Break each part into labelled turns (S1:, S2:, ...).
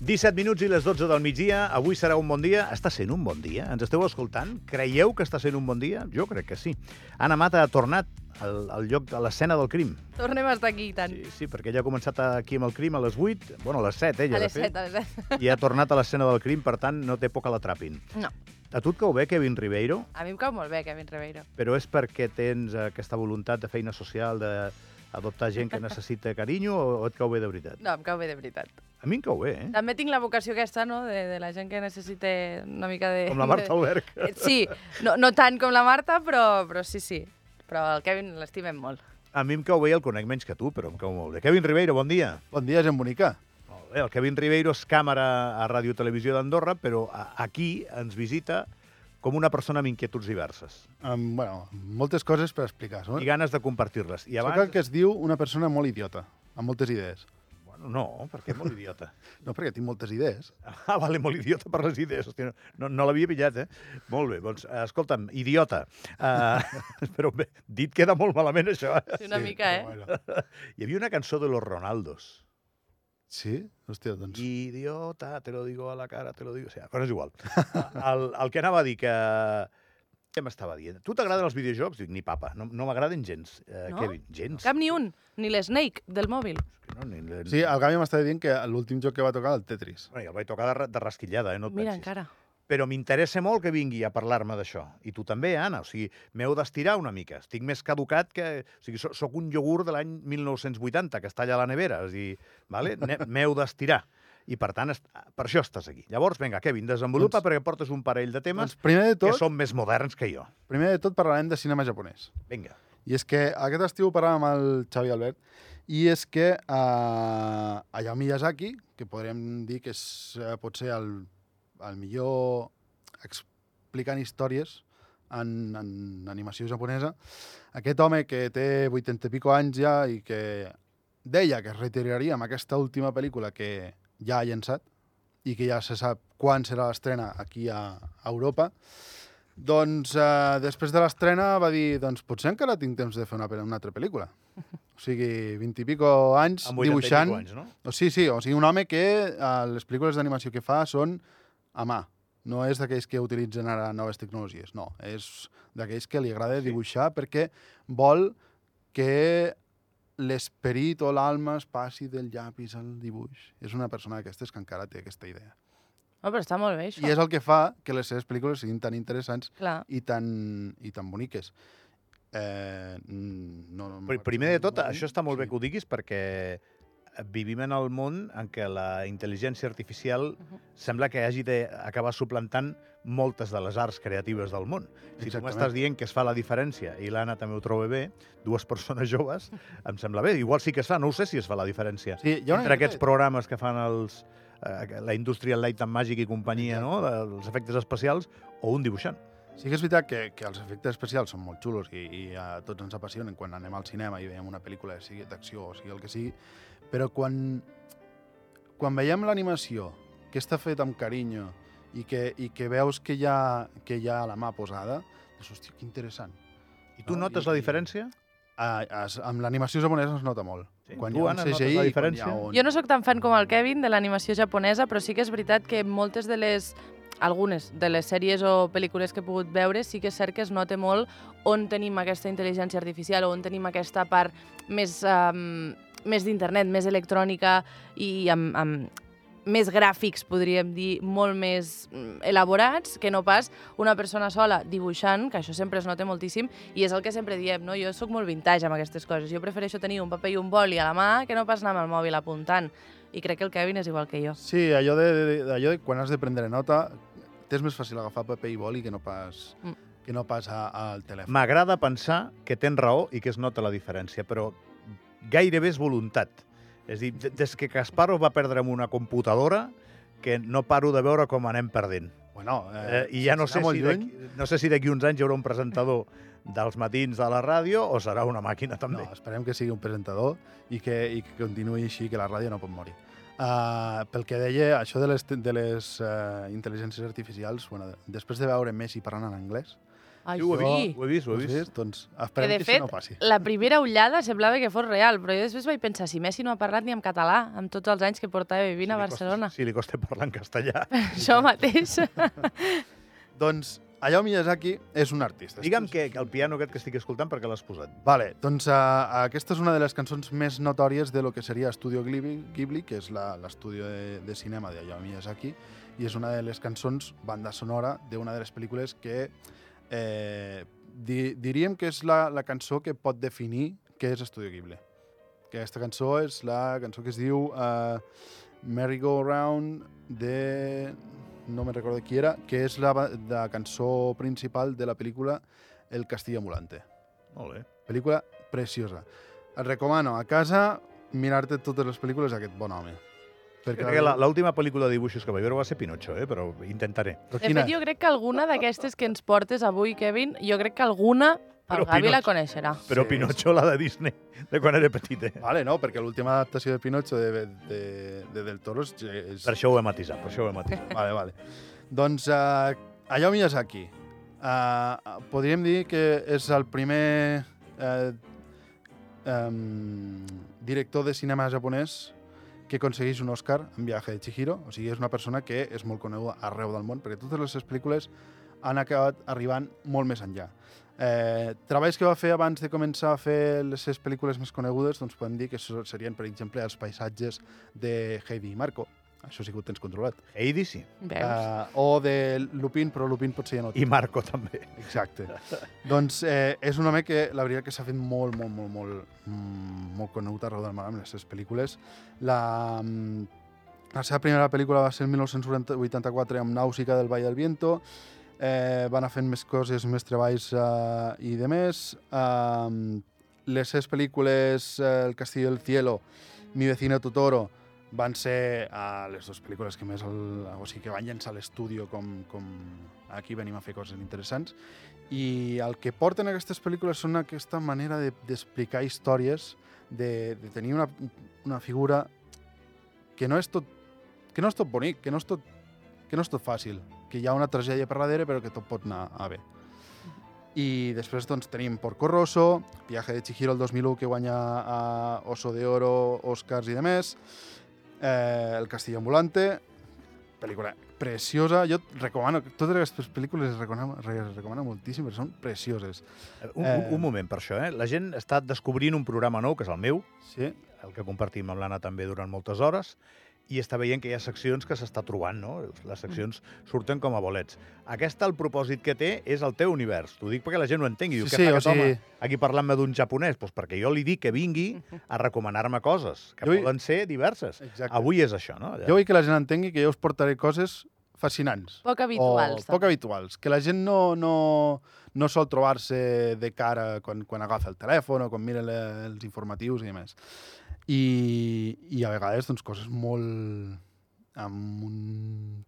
S1: 17 minuts i les 12 del migdia. Avui serà un bon dia. Està sent un bon dia? Ens esteu escoltant? Creieu que està sent un bon dia? Jo crec que sí. Anna Mata ha tornat al, al lloc, a l'escena del crim.
S2: Tornem a estar aquí, i tant.
S1: Sí, sí, perquè ella ha començat aquí amb el crim a les 8, bueno, a les 7, ella,
S2: a les
S1: de fet,
S2: 7, a les 7.
S1: i ha tornat a l'escena del crim, per tant, no té por que l'atrapin.
S2: No,
S1: A tu et cau bé Kevin Ribeiro,
S2: a mi em cau molt bé Kevin Ribeiro.
S1: però és perquè tens aquesta voluntat de feina social, de adoptar gent que necessita carinyo o, o et cau bé de veritat?
S2: No, em cau bé de veritat.
S1: A mi em cau bé, eh?
S2: També tinc la vocació aquesta, no?, de, de la gent que necessita una mica de...
S1: Com la Marta Alberg.
S2: de- Sí, no, no tant com la Marta, però, però sí, sí. Però el Kevin l'estimem molt.
S1: A mi em cau bé i el conec menys que tu, però em cau molt bé. Kevin Ribeiro, bon dia.
S3: Bon dia, gent bonica.
S1: Molt bé, el Kevin Ribeiro és càmera a Ràdio Televisió d'Andorra, però a- aquí ens visita com una persona amb inquietuds diverses
S3: Um, bueno, moltes coses per explicar. Som,
S1: i ganes de compartir-les. I
S3: Soc el
S1: abans...
S3: que es diu una persona molt idiota, amb moltes idees.
S1: Bueno, no, perquè és molt idiota.
S3: No, perquè tinc moltes idees.
S1: Ah, vale, molt idiota per les idees. Hòstia, no no l'havia pillat, eh? Molt bé, doncs, eh, escolta'm, idiota. Uh, però bé, dit queda molt malament, això. eh?
S2: Sí, una mica, eh?
S3: però Bueno.
S1: Hi havia una cançó de los Ronaldos.
S3: Sí? Hòstia, doncs...
S1: Idiota, te lo digo a la cara, te lo digo... O sigui, però és igual. El, el que anava a dir que... Què m'estava dient? Tu t'agraden els videojocs? Dic, ni papa, no, no m'agraden gens, eh,
S2: No?
S1: Kevin. Gens.
S2: Cap ni un, ni l'Snake del mòbil.
S1: No, ni, ni,
S3: Sí, el Gavi m'estava dient que l'últim joc que va tocar, el Tetris.
S1: Bueno, ja el vaig tocar de, ra- de rasquillada, eh? no et
S2: Mira,
S1: pensis.
S2: encara.
S1: però m'interessa molt que vingui a parlar-me d'això. I tu també, Anna. O sigui, m'heu d'estirar una mica. Estic més caducat que... O sigui, so- sóc un iogurt de l'any 1980, que està allà a la nevera. És a dir, vale? Ne- m'heu d'estirar. I, per tant, est... per això estàs aquí. Llavors, vinga, Kevin, desenvolupa
S3: Doncs-
S1: perquè portes un parell de temes
S3: Doncs, primer de
S1: que
S3: tot,
S1: són més moderns que jo.
S3: primer de tot parlarem de cinema japonès.
S1: Vinga.
S3: I és que aquest estiu parlàvem amb el Xavi Albert i és que eh, allà a Miyazaki, que podríem dir que és eh, potser el, el millor explicant històries en, en animació japonesa, aquest home que té 80 i pico anys ja i que deia que es retiraria amb aquesta última pel·lícula que ja ha llançat i que ja se sap quan serà l'estrena aquí a, a Europa, doncs eh, després de l'estrena va dir doncs potser encara tinc temps de fer una, pel- una altra pel·lícula. O sigui, 20 i pico anys
S1: Amb 80
S3: dibuixant...
S1: anys, no?
S3: O sí, sí, o sigui, un home que eh, les pel·lícules d'animació que fa són a mà. No és d'aquells que utilitzen ara noves tecnologies, no. És d'aquells que li agrada
S1: Sí.
S3: sí. dibuixar perquè vol que l'esperit o l'alma es passi del llapis al dibuix. És una persona d'aquestes que encara té aquesta idea.
S2: No, però està molt bé, això.
S3: I és el que fa que les seves pel·lícules siguin tan interessants
S2: Clar.
S3: i tan, i tan boniques. Eh, mm, no, no,
S1: Pri- Primer de tot, això està molt bé que ho diguis perquè eh, vivim en el món en què la intel·ligència artificial
S2: Mhm.
S1: sembla que hagi d'acabar suplantant moltes de les arts creatives del món. Si tu
S3: Exactament.
S1: m'estàs dient que es fa la diferència, i l'Anna també ho troba bé, dues persones joves, em sembla bé. Igual sí que es fa, no ho sé si es fa la diferència.
S3: Sí, hi ha una
S1: Entre aquests
S3: miqueta-
S1: programes que fan els, eh, la indústria Light and Magic i companyia, no? els efectes especials, o un dibuixant.
S3: Sí que és veritat que, que els efectes especials són molt xulos i, i a tots ens apassionen quan anem al cinema i veiem una pel·lícula, sigui d'acció o sigui el que sigui, però quan, quan veiem l'animació, que està fet amb carinyo i que, i que veus que hi, ha, que hi ha la mà posada, dius, hòstia, que interessant.
S1: I tu
S3: No,
S1: notes
S3: i-
S1: la
S3: i-
S1: diferència?
S3: A, es, amb l'animació japonesa es nota molt.
S1: Sí?
S3: Quan
S1: Tu,
S3: hi ha
S1: Anna,
S3: un
S1: notes
S3: CGI,
S1: la
S3: i quan hi ha
S1: diferència?
S3: un...
S2: Jo no sóc tan fan com el Kevin de l'animació japonesa, però sí que és veritat que moltes de les algunes de les sèries o pel·lícules que he pogut veure sí que és cert que es nota molt on tenim aquesta intel·ligència artificial o on tenim aquesta part més, um, més d'internet, més electrònica i amb, amb més gràfics, podríem dir, molt més mm, elaborats que no pas una persona sola dibuixant, que això sempre es nota moltíssim, i és el que sempre diem, no? Jo sóc molt vintage amb aquestes coses. Jo prefereixo tenir un paper i un boli a la mà que no pas anar amb el mòbil apuntant. I crec que el Kevin és igual que jo.
S3: Sí, allò de, de, de, allò de quan has de prendre nota, t'és més fàcil agafar paper i boli que no pas,
S2: Mm.
S3: que no pas a- al telèfon.
S1: M'agrada pensar que tens raó i que es nota la diferència, però gairebé és voluntat. És a dir, de- des que Kasparov va perdre amb una computadora, que no paro de veure com anem perdent.
S3: Bueno,
S1: Eh, I ja no sé,
S3: serà molt
S1: si
S3: lluny.
S1: d'aquí, no sé si d'aquí uns anys hi haurà un presentador dels matins de la ràdio o serà una màquina també.
S3: No, esperem que sigui un presentador i que, i que continuï així, que la ràdio no pot morir. Uh, pel que deia, això de eh, les, te- de les uh, intel·ligències artificials, bueno, de- després de veure Messi parlant en anglès,
S2: Ai,
S1: Sí, ho he
S2: sí.
S1: vist, ho he vist, ho he
S3: Ho has
S1: vist.
S3: vist? Doncs
S2: Que,
S3: esperem
S2: de
S3: que,
S2: fet,
S3: això no passi.
S2: la primera ullada semblava que fos real, però jo després vaig pensar, si Messi no ha parlat ni en català, amb tots els anys que portava vivint a
S1: li
S2: Barcelona.
S1: Costa, sí, li costa parlar en castellà.
S2: Això mateix.
S3: Doncs Hayao Miyazaki és un artista.
S1: Digue'm que el piano aquest que estic escoltant, perquè l'has posat?
S3: Vale, doncs uh, aquesta és una de les cançons més notòries de lo que seria Estudio Ghibli, Ghibli que és la- l'estudio de, de cinema de Hayao Miyazaki, i és una de les cançons, banda sonora, d'una de les pel·lícules que eh, di, diríem que és la, la cançó que pot definir què és Estudio Ghibli. Que aquesta cançó és la cançó que es diu uh, Merry Go Round de... no me recordo qui era, que és la, ba- la cançó principal de la pel·lícula El Castillo Ambulante.
S1: Molt bé.
S3: Pel·lícula preciosa. Et recomano a casa mirar-te totes les pel·lícules d'aquest bon home. Perquè
S1: Crec que la- L'última pel·lícula de dibuixos que vaig veure va ser Pinocho, eh? però intentaré.
S3: Però
S2: De
S3: quina
S2: fet, jo crec que alguna d'aquestes que ens portes avui, Kevin, jo crec que alguna el
S1: Però
S2: Gavi la
S1: Pinot-
S2: coneixerà.
S1: Però
S3: Sí,
S1: Pinocho, la de Disney, de quan era petit, eh?
S3: Vale, no, perquè l'última adaptació de Pinocho de, de, de Del Toro és... és...
S1: Per això ho he matisat, per això ho he matisat.
S3: Vale, vale. Doncs uh, Hayao Miyazaki. Uh, podríem dir que és el primer uh, um, director de cinema japonès que aconsegueix un Oscar en Viaje de Chihiro. O sigui, és una persona que és molt coneguda arreu del món, perquè totes les seves pel·lícules han acabat arribant molt més enllà. Eh, treballs que va fer abans de començar a fer les seves pel·lícules més conegudes, doncs podem dir que so- serien, per exemple, els paisatges de Heidi i Marco. Això sí que ho tens controlat.
S1: Heidi sí,
S2: Veus?
S3: Uh, o de Lupin, però Lupin potser ja no.
S1: i Marco també.
S3: Exacte. doncs eh, és un home que la veritat que s'ha fet molt, molt, molt, molt, mm, molt conegut arreu del món amb les seves pel·lícules. La, mm, la seva primera pel·lícula va ser el 1984 amb Nàusica del Vall del Viento. Eh, va anar fent més coses, més treballs eh, i de més. Eh, les seves pel·lícules eh, El Castillo del Cielo, Mi vecino Totoro, van ser a les dues pel·lícules que més el, o sigui, que van llançar a l'estudio com, com aquí venim a fer coses interessants i el que porten aquestes pel·lícules són aquesta manera de- d'explicar de, històries de, de tenir una, una figura que no és tot que no és tot bonic, que no és tot, que no és tot fàcil, que hi ha una tragèdia per darrere però que tot pot anar a bé. I després doncs, tenim Porco Rosso, Viaje de Chihiro el 2001 que guanya a Oso de Oro, Oscars i demés, eh, El Castillo Ambulante, pel·lícula preciosa, jo et recomano, totes aquestes pel·lícules les recomano, les recomano moltíssim perquè són precioses.
S1: Un, un, un moment per això, eh? La gent està descobrint un programa nou, que és el meu,
S3: Sí?
S1: el que compartim amb l'Anna també durant moltes hores, i està veient que hi ha seccions que s'està trobant, no? Les seccions surten com a bolets. Aquesta, el propòsit que té, és el teu univers. T'ho dic perquè la gent ho entengui. Diu,
S3: Sí,
S1: sí, què
S3: sí,
S1: fa
S3: o
S1: aquest home
S3: sigui-
S1: aquí parlant-me d'un japonès? Doncs perquè jo li dic que vingui a recomanar-me coses, que
S3: Jo hi-
S1: poden ser diverses.
S3: Exacte.
S1: Avui és això, no?
S3: Jo vull que la gent entengui que jo us portaré coses fascinants.
S2: Poc habituals.
S3: O poc habituals. Que la gent no, no, no sol trobar-se de cara quan, quan agafa el telèfon o quan mira le, els informatius i més. I, I a vegades, doncs, coses molt amb un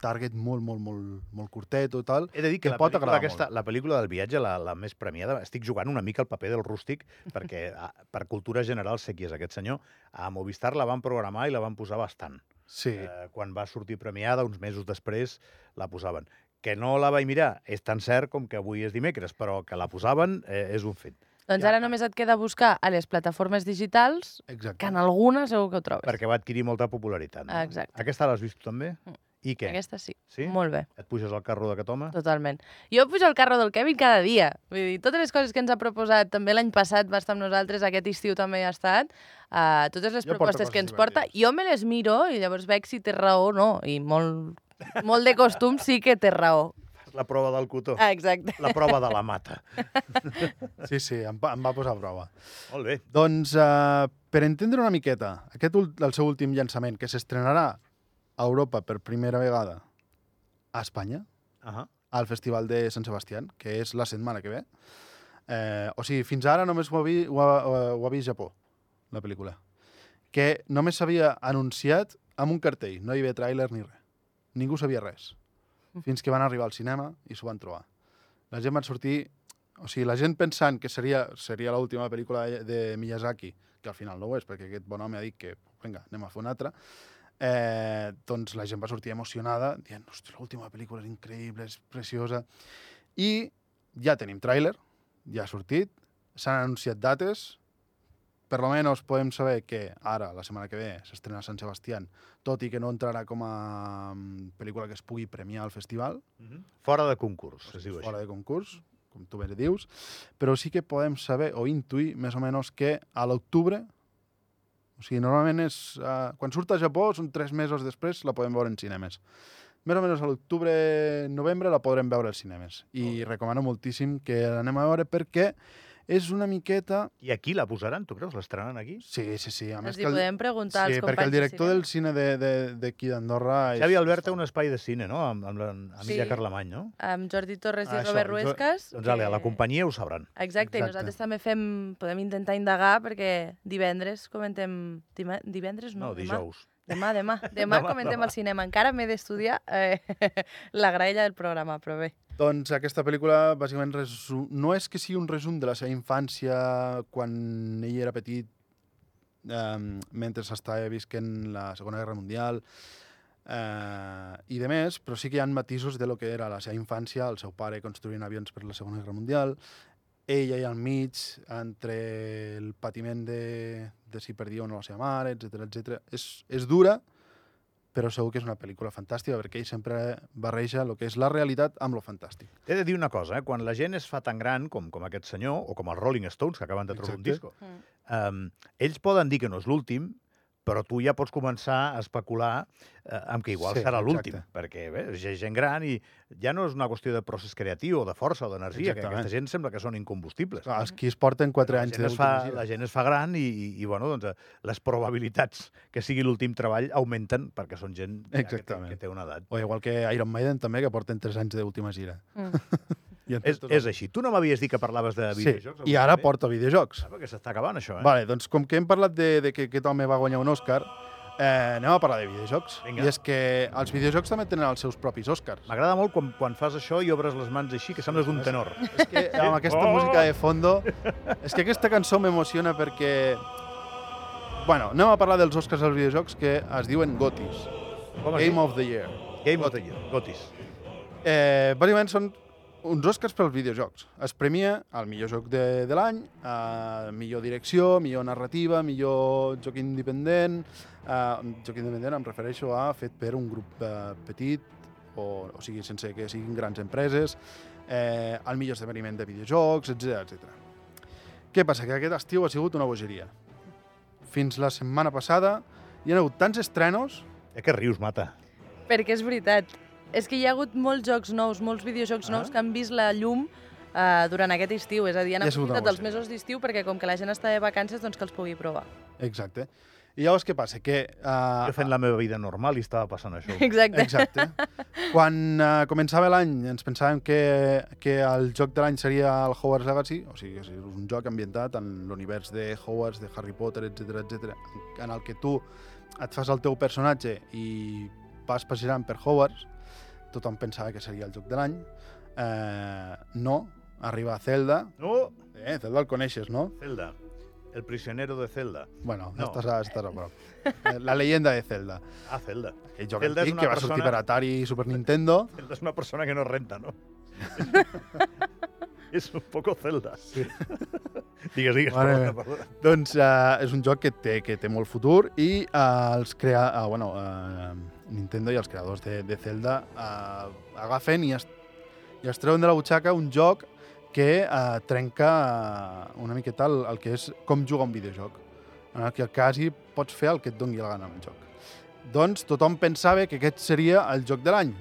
S3: target molt, molt, molt, molt curtet o tal.
S1: He de dir que la
S3: que pot
S1: pel·lícula,
S3: agradar
S1: aquesta, la pel·lícula del viatge, la, la més premiada, estic jugant una mica el paper del rústic, perquè a, per cultura general sé qui és aquest senyor. A Movistar la van programar i la van posar bastant.
S3: Sí.
S1: Eh, quan va sortir premiada, uns mesos després, la posaven. Que no la vaig mirar, és tan cert com que avui és dimecres, però que la posaven eh, és un fet.
S2: Doncs ara només et queda buscar a les plataformes digitals, que
S3: Exacte.
S2: en alguna segur que ho trobes.
S1: Perquè va adquirir molta popularitat. No?
S2: Exacte.
S1: Aquesta l'has vist tu també?
S2: Mm.
S1: I què?
S2: Aquesta sí.
S1: Sí?
S2: Molt bé,
S1: Et puges al carro d'aquest home?
S2: totalment. Jo pujo al carro del Kevin cada dia. Vull dir, totes les coses que ens ha proposat, també l'any passat va estar amb nosaltres, aquest estiu també ha estat, uh, totes les
S3: Jo porto
S2: propostes
S3: coses
S2: que ens porta,
S3: divertides.
S2: jo me les miro i llavors veig si té raó o no. I molt, molt de costum sí que té raó.
S1: La prova del cotó.
S2: Ah, exacte.
S1: La prova de la mata.
S3: Sí, sí, em, va- em va posar a prova.
S1: Molt bé.
S3: Doncs, eh, per entendre una miqueta, aquest ul- el seu últim llançament, que s'estrenarà a Europa per primera vegada a Espanya,
S1: Uh -huh.
S3: al Festival de Sant Sebastià, que és la setmana que ve. Eh, o sigui, fins ara només ho ha, vi, ho, ha, eh, ho ha vist Japó, la pel·lícula. Que només s'havia anunciat amb un cartell, no hi havia tràiler ni res. Ningú sabia res. Fins que van arribar al cinema i s'ho van trobar. La gent van sortir... O sigui, la gent pensant que seria, seria l'última pel·lícula de, de Miyazaki, que al final no ho és, perquè aquest bon home ha dit que vinga, anem a fer una altra, eh, doncs la gent va sortir emocionada, dient, hòstia, l'última pel·lícula és increïble, és preciosa, i ja tenim tràiler, ja ha sortit, s'han anunciat dates, per lo menos podem saber que ara, la setmana que ve, s'estrena a Sant Sebastián, tot i que no entrarà com a mm, pel·lícula que es pugui premiar al festival,
S1: Fora de concurs, es diu
S3: Mhm. fora
S1: així.
S3: de concurs, com tu bé dius, però sí que podem saber o intuir més o menys que a l'octubre, o sigui, normalment és... Uh, quan surt a Japó, són tres mesos després, la podem veure en cinemes. Més o menys a l'octubre, novembre, la podrem veure als cinemes. I recomano moltíssim que l'anem a veure perquè és una miqueta...
S1: I aquí la posaran, tu creus? L'estrenaran aquí?
S3: Sí, sí, sí. A
S2: Ens
S3: més
S2: Doncs hi
S3: que el...
S2: podem preguntar
S3: Sí,
S2: als companys
S3: perquè el
S2: de
S3: director
S2: cinema.
S3: del cine de- de- d'aquí d'Andorra... és-
S1: Xavi Albert té un espai de cine, no?, amb, amb l'Emilia
S2: Sí.
S1: Carlemany, no?
S2: Amb Jordi Torres i
S3: Ah, Això,
S2: Robert
S3: jo-
S2: Ruescas.
S1: Doncs ale, a la
S2: que-
S1: companyia ho sabran.
S2: Exacte, i
S3: Exacte.
S2: nosaltres també fem, podem intentar indagar perquè divendres comentem... dima- Divendres no,
S1: No, dijous.
S2: Demà, demà. Demà, demà,
S1: Demà,
S2: comentem
S1: demà.
S2: el cinema. Encara m'he d'estudiar eh, la graella del programa, però bé.
S3: Doncs aquesta pel·lícula, bàsicament, resu... no és que sigui un resum de la seva infància quan ell era petit, um, mentre s'estava visquent la Segona Guerra Mundial eh, i de més, però sí que hi ha matisos de lo que era la seva infància, el seu pare construint avions per la Segona Guerra Mundial, ella allà al mig, entre el patiment de, de si perdia o no la seva mare, etc etc. És, és dura, però segur que és una pel·lícula fantàstica, perquè ell sempre barreja el que és la realitat amb lo fantàstic.
S1: T'he de dir una cosa, eh? quan la gent es fa tan gran com, com aquest senyor, o com els Rolling Stones, que acaben de treure un
S3: Exacte.
S1: disco, um, ells poden dir que no és l'últim, però tu ja pots començar a especular eh, amb que igual
S3: Sí,
S1: sí, serà l'últim,
S3: exacte.
S1: perquè bé, és gent gran i ja no és una qüestió de procés creatiu o de força o d'energia, que
S3: Exactament.
S1: aquesta gent sembla que són incombustibles.
S3: Clar, Els qui es porten 4
S1: la,
S3: anys
S1: gent es fa,
S3: d'eutanàsia.
S1: la gent es fa gran i, i, i bueno, doncs, eh, les probabilitats que sigui l'últim treball augmenten perquè són gent ja que, té,
S3: Exactament.
S1: que té una edat.
S3: O igual que Iron Maiden també, que porten 3 anys d'última gira.
S2: Mm.
S3: I en
S1: És,
S3: tot
S1: és així. Tu no m'havies dit que parlaves de
S3: Sí,
S1: videojocs?
S3: i ara porta videojocs.
S1: Sap que s'està acabant, això, eh?
S3: Vale, doncs com que hem parlat de, de que aquest home va guanyar un Òscar, eh, anem a parlar de videojocs.
S1: Vinga.
S3: I és que els videojocs també tenen els seus propis Òscars.
S1: M'agrada molt quan, quan fas això i obres les mans així, que sembles un tenor.
S3: És que amb aquesta
S1: Oh!
S3: música de fondo... És que aquesta cançó m'emociona perquè... Bueno, anem a parlar dels Òscars als videojocs que es diuen GOTIS.
S1: Com es diu?
S3: Game of the Year.
S1: Game of the Year. Gotis.
S3: Eh, bàsicament són uns Oscars pels videojocs. Es premia el millor joc de, de l'any, eh, millor direcció, millor narrativa, millor joc independent... Eh, joc independent em refereixo a fet per un grup eh, petit, o, o sigui, sense que siguin grans empreses, eh, el millor esdeveniment de videojocs, etc etc. Què passa? Que aquest estiu ha sigut una bogeria. Fins la setmana passada hi ha hagut tants estrenos
S1: Eh, que rius, mata.
S2: Perquè és veritat. És que hi ha hagut molts jocs nous, molts videojocs
S1: Ah.
S2: ah. nous que han vist la llum eh, durant aquest estiu. És a dir, han
S3: I ha sigut una
S2: aprofitat els
S3: bogeria.
S2: mesos d'estiu perquè com que la gent està de vacances, doncs que els pugui provar.
S3: Exacte. I llavors què passa? Que, eh,
S1: Jo fent la meva vida normal i estava passant això.
S2: Exacte.
S3: Exacte. Quan eh, començava l'any ens pensàvem que, que el joc de l'any seria el Hogwarts Legacy, o sigui, és un joc ambientat en l'univers de Hogwarts, de Harry Potter, etc etc, en el que tu et fas el teu personatge i vas passejant per Hogwarts, tothom pensava que seria el joc de l'any. Eh, no, arriba Zelda,
S1: No,
S3: eh, Zelda el coneixes, no?
S1: Zelda. El prisionero de Zelda.
S3: Bueno,
S1: No.
S3: no. estàs, a, estàs a prop. Eh, La leyenda de Zelda.
S1: Ah, Zelda.
S3: Aquell joc
S1: Zelda és
S3: antic
S1: una
S3: que va
S1: persona-
S3: sortir per Atari i Super Nintendo.
S1: Zelda és una persona que no renta, no? és un poco Zelda. Sí. digues, digues.
S3: Mare
S1: perdona,
S3: meva.
S1: perdona.
S3: Doncs uh, és un joc que té, que té molt futur i uh, els crea... Uh, bueno, uh, Nintendo i els creadors de, de Zelda uh, agafen i es, i es treuen de la butxaca un joc que uh, trenca uh, una miqueta el, el que és com jugar un videojoc, en el que quasi pots fer el que et doni la gana amb el joc. Doncs tothom pensava que aquest seria el joc de l'any,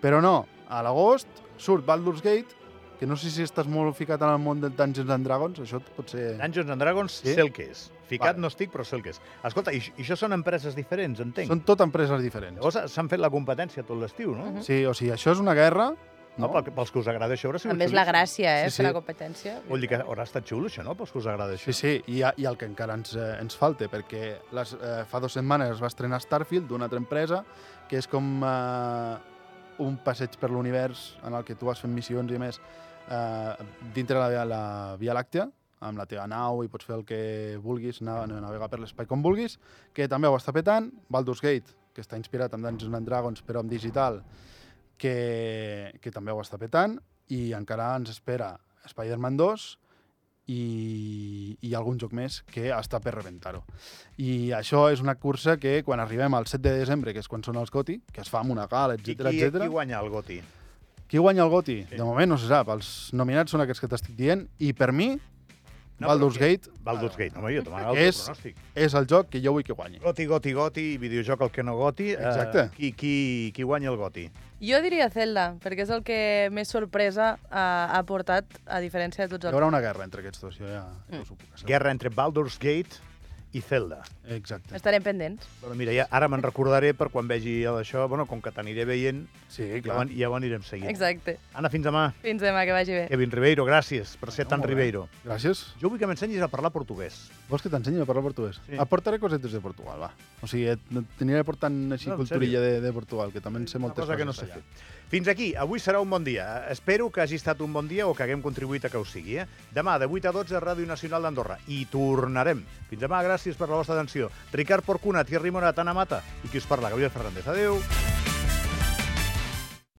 S3: però no. A l'agost surt Baldur's Gate, que no sé si estàs molt ficat en el món del Dungeons and Dragons, això et pot ser...
S1: Dungeons and Dragons,
S3: Sí?
S1: sí? sé el que és. Ficat
S3: Vale.
S1: no estic, però sé el que és. Escolta, i, i això són empreses diferents, entenc.
S3: Són tot empreses diferents.
S1: Llavors Mm. s'han fet la competència tot l'estiu, no?
S2: Mhm.
S3: Sí, o sigui, això és una guerra...
S1: no?
S3: No?
S1: Pel, pels que us agrada això, haurà
S2: A
S1: sigut
S2: més, la
S1: xulíssim.
S2: gràcia, eh,
S3: Sí,
S2: sí,
S3: sí.
S2: fer la competència.
S1: Vull dir que haurà estat xulo, això, no? Pels que us agrada això.
S3: Sí, sí, i, i el que encara ens, eh, ens falta, perquè les, eh, fa dues setmanes es va estrenar Starfield d'una altra empresa, que és com eh, un passeig per l'univers en el que tu vas fent missions i més eh, dintre la, la Via Làctea, amb la teva nau i pots fer el que vulguis, na- navegar per l'espai com vulguis, que també ho està petant, Baldur's Gate, que està inspirat en Dungeons and Dragons però en digital, que, que també ho està petant, i encara ens espera Spider-Man 2 i, i algun joc més que està per rebentar-ho. I això és una cursa que quan arribem al 7 de desembre, que és quan són els Goti, que es fa amb una gala,
S1: Qui,
S3: etc
S1: qui,
S3: etc.
S1: qui guanya el Goti?
S3: Qui guanya el Goti?
S1: Sí.
S3: De moment no se sap. Els nominats són aquests que t'estic dient i per mi
S1: No,
S3: Baldur's
S1: però
S3: Gate
S1: Baldur's Gate. Home, jo tomaré el
S3: Ah. És-
S1: teu pronòstic.
S3: és el joc que jo vull que guanyi.
S1: Goti, goti, goti, i videojoc el que no goti. eh,
S3: Exacte.
S1: qui, qui, qui guanya el goti?
S2: Jo diria Zelda, perquè és el que més sorpresa eh, ha portat, a diferència de tots
S3: Hi
S2: els...
S3: haurà una guerra entre aquests dos, jo ja, ja us ho puc assegurar.
S1: Guerra entre Baldur's Gate i Zelda.
S3: Exacte.
S2: Estarem pendents.
S1: Però mira, ja, ara me'n recordaré per quan vegi això. Bueno, com que t'aniré veient,
S3: Sí,
S1: ja ho,
S3: clar.
S1: ja ho anirem seguint.
S2: Exacte.
S1: Anna, fins demà.
S2: Fins demà, que vagi bé.
S1: Kevin Ribeiro, gràcies per ser
S3: No,
S1: tan
S3: molt bé.
S1: Ribeiro.
S3: Gràcies.
S1: Jo vull que m'ensenyis a parlar portuguès.
S3: Vols que t'ensenyi a parlar portuguès?
S1: Sí.
S3: Sí. Et portaré cosetes de Portugal, va. O sigui, et, et t'aniré portant així
S1: No, en
S3: no, culturilla de, de Portugal, que també en sé
S1: Una
S3: moltes
S1: cosa que no sé
S3: coses
S1: fer. Fins aquí, avui serà un bon dia. Espero que hagi estat un bon dia o que haguem contribuït a que ho sigui. Eh? Demà, de 8 a 12, a Ràdio Nacional d'Andorra. I tornarem. Fins demà, gràcies per la vostra atenció. Ricard Porcuna, Thierry Morat, Anna Mata i qui us parla, Gabriel Fernández. Adéu.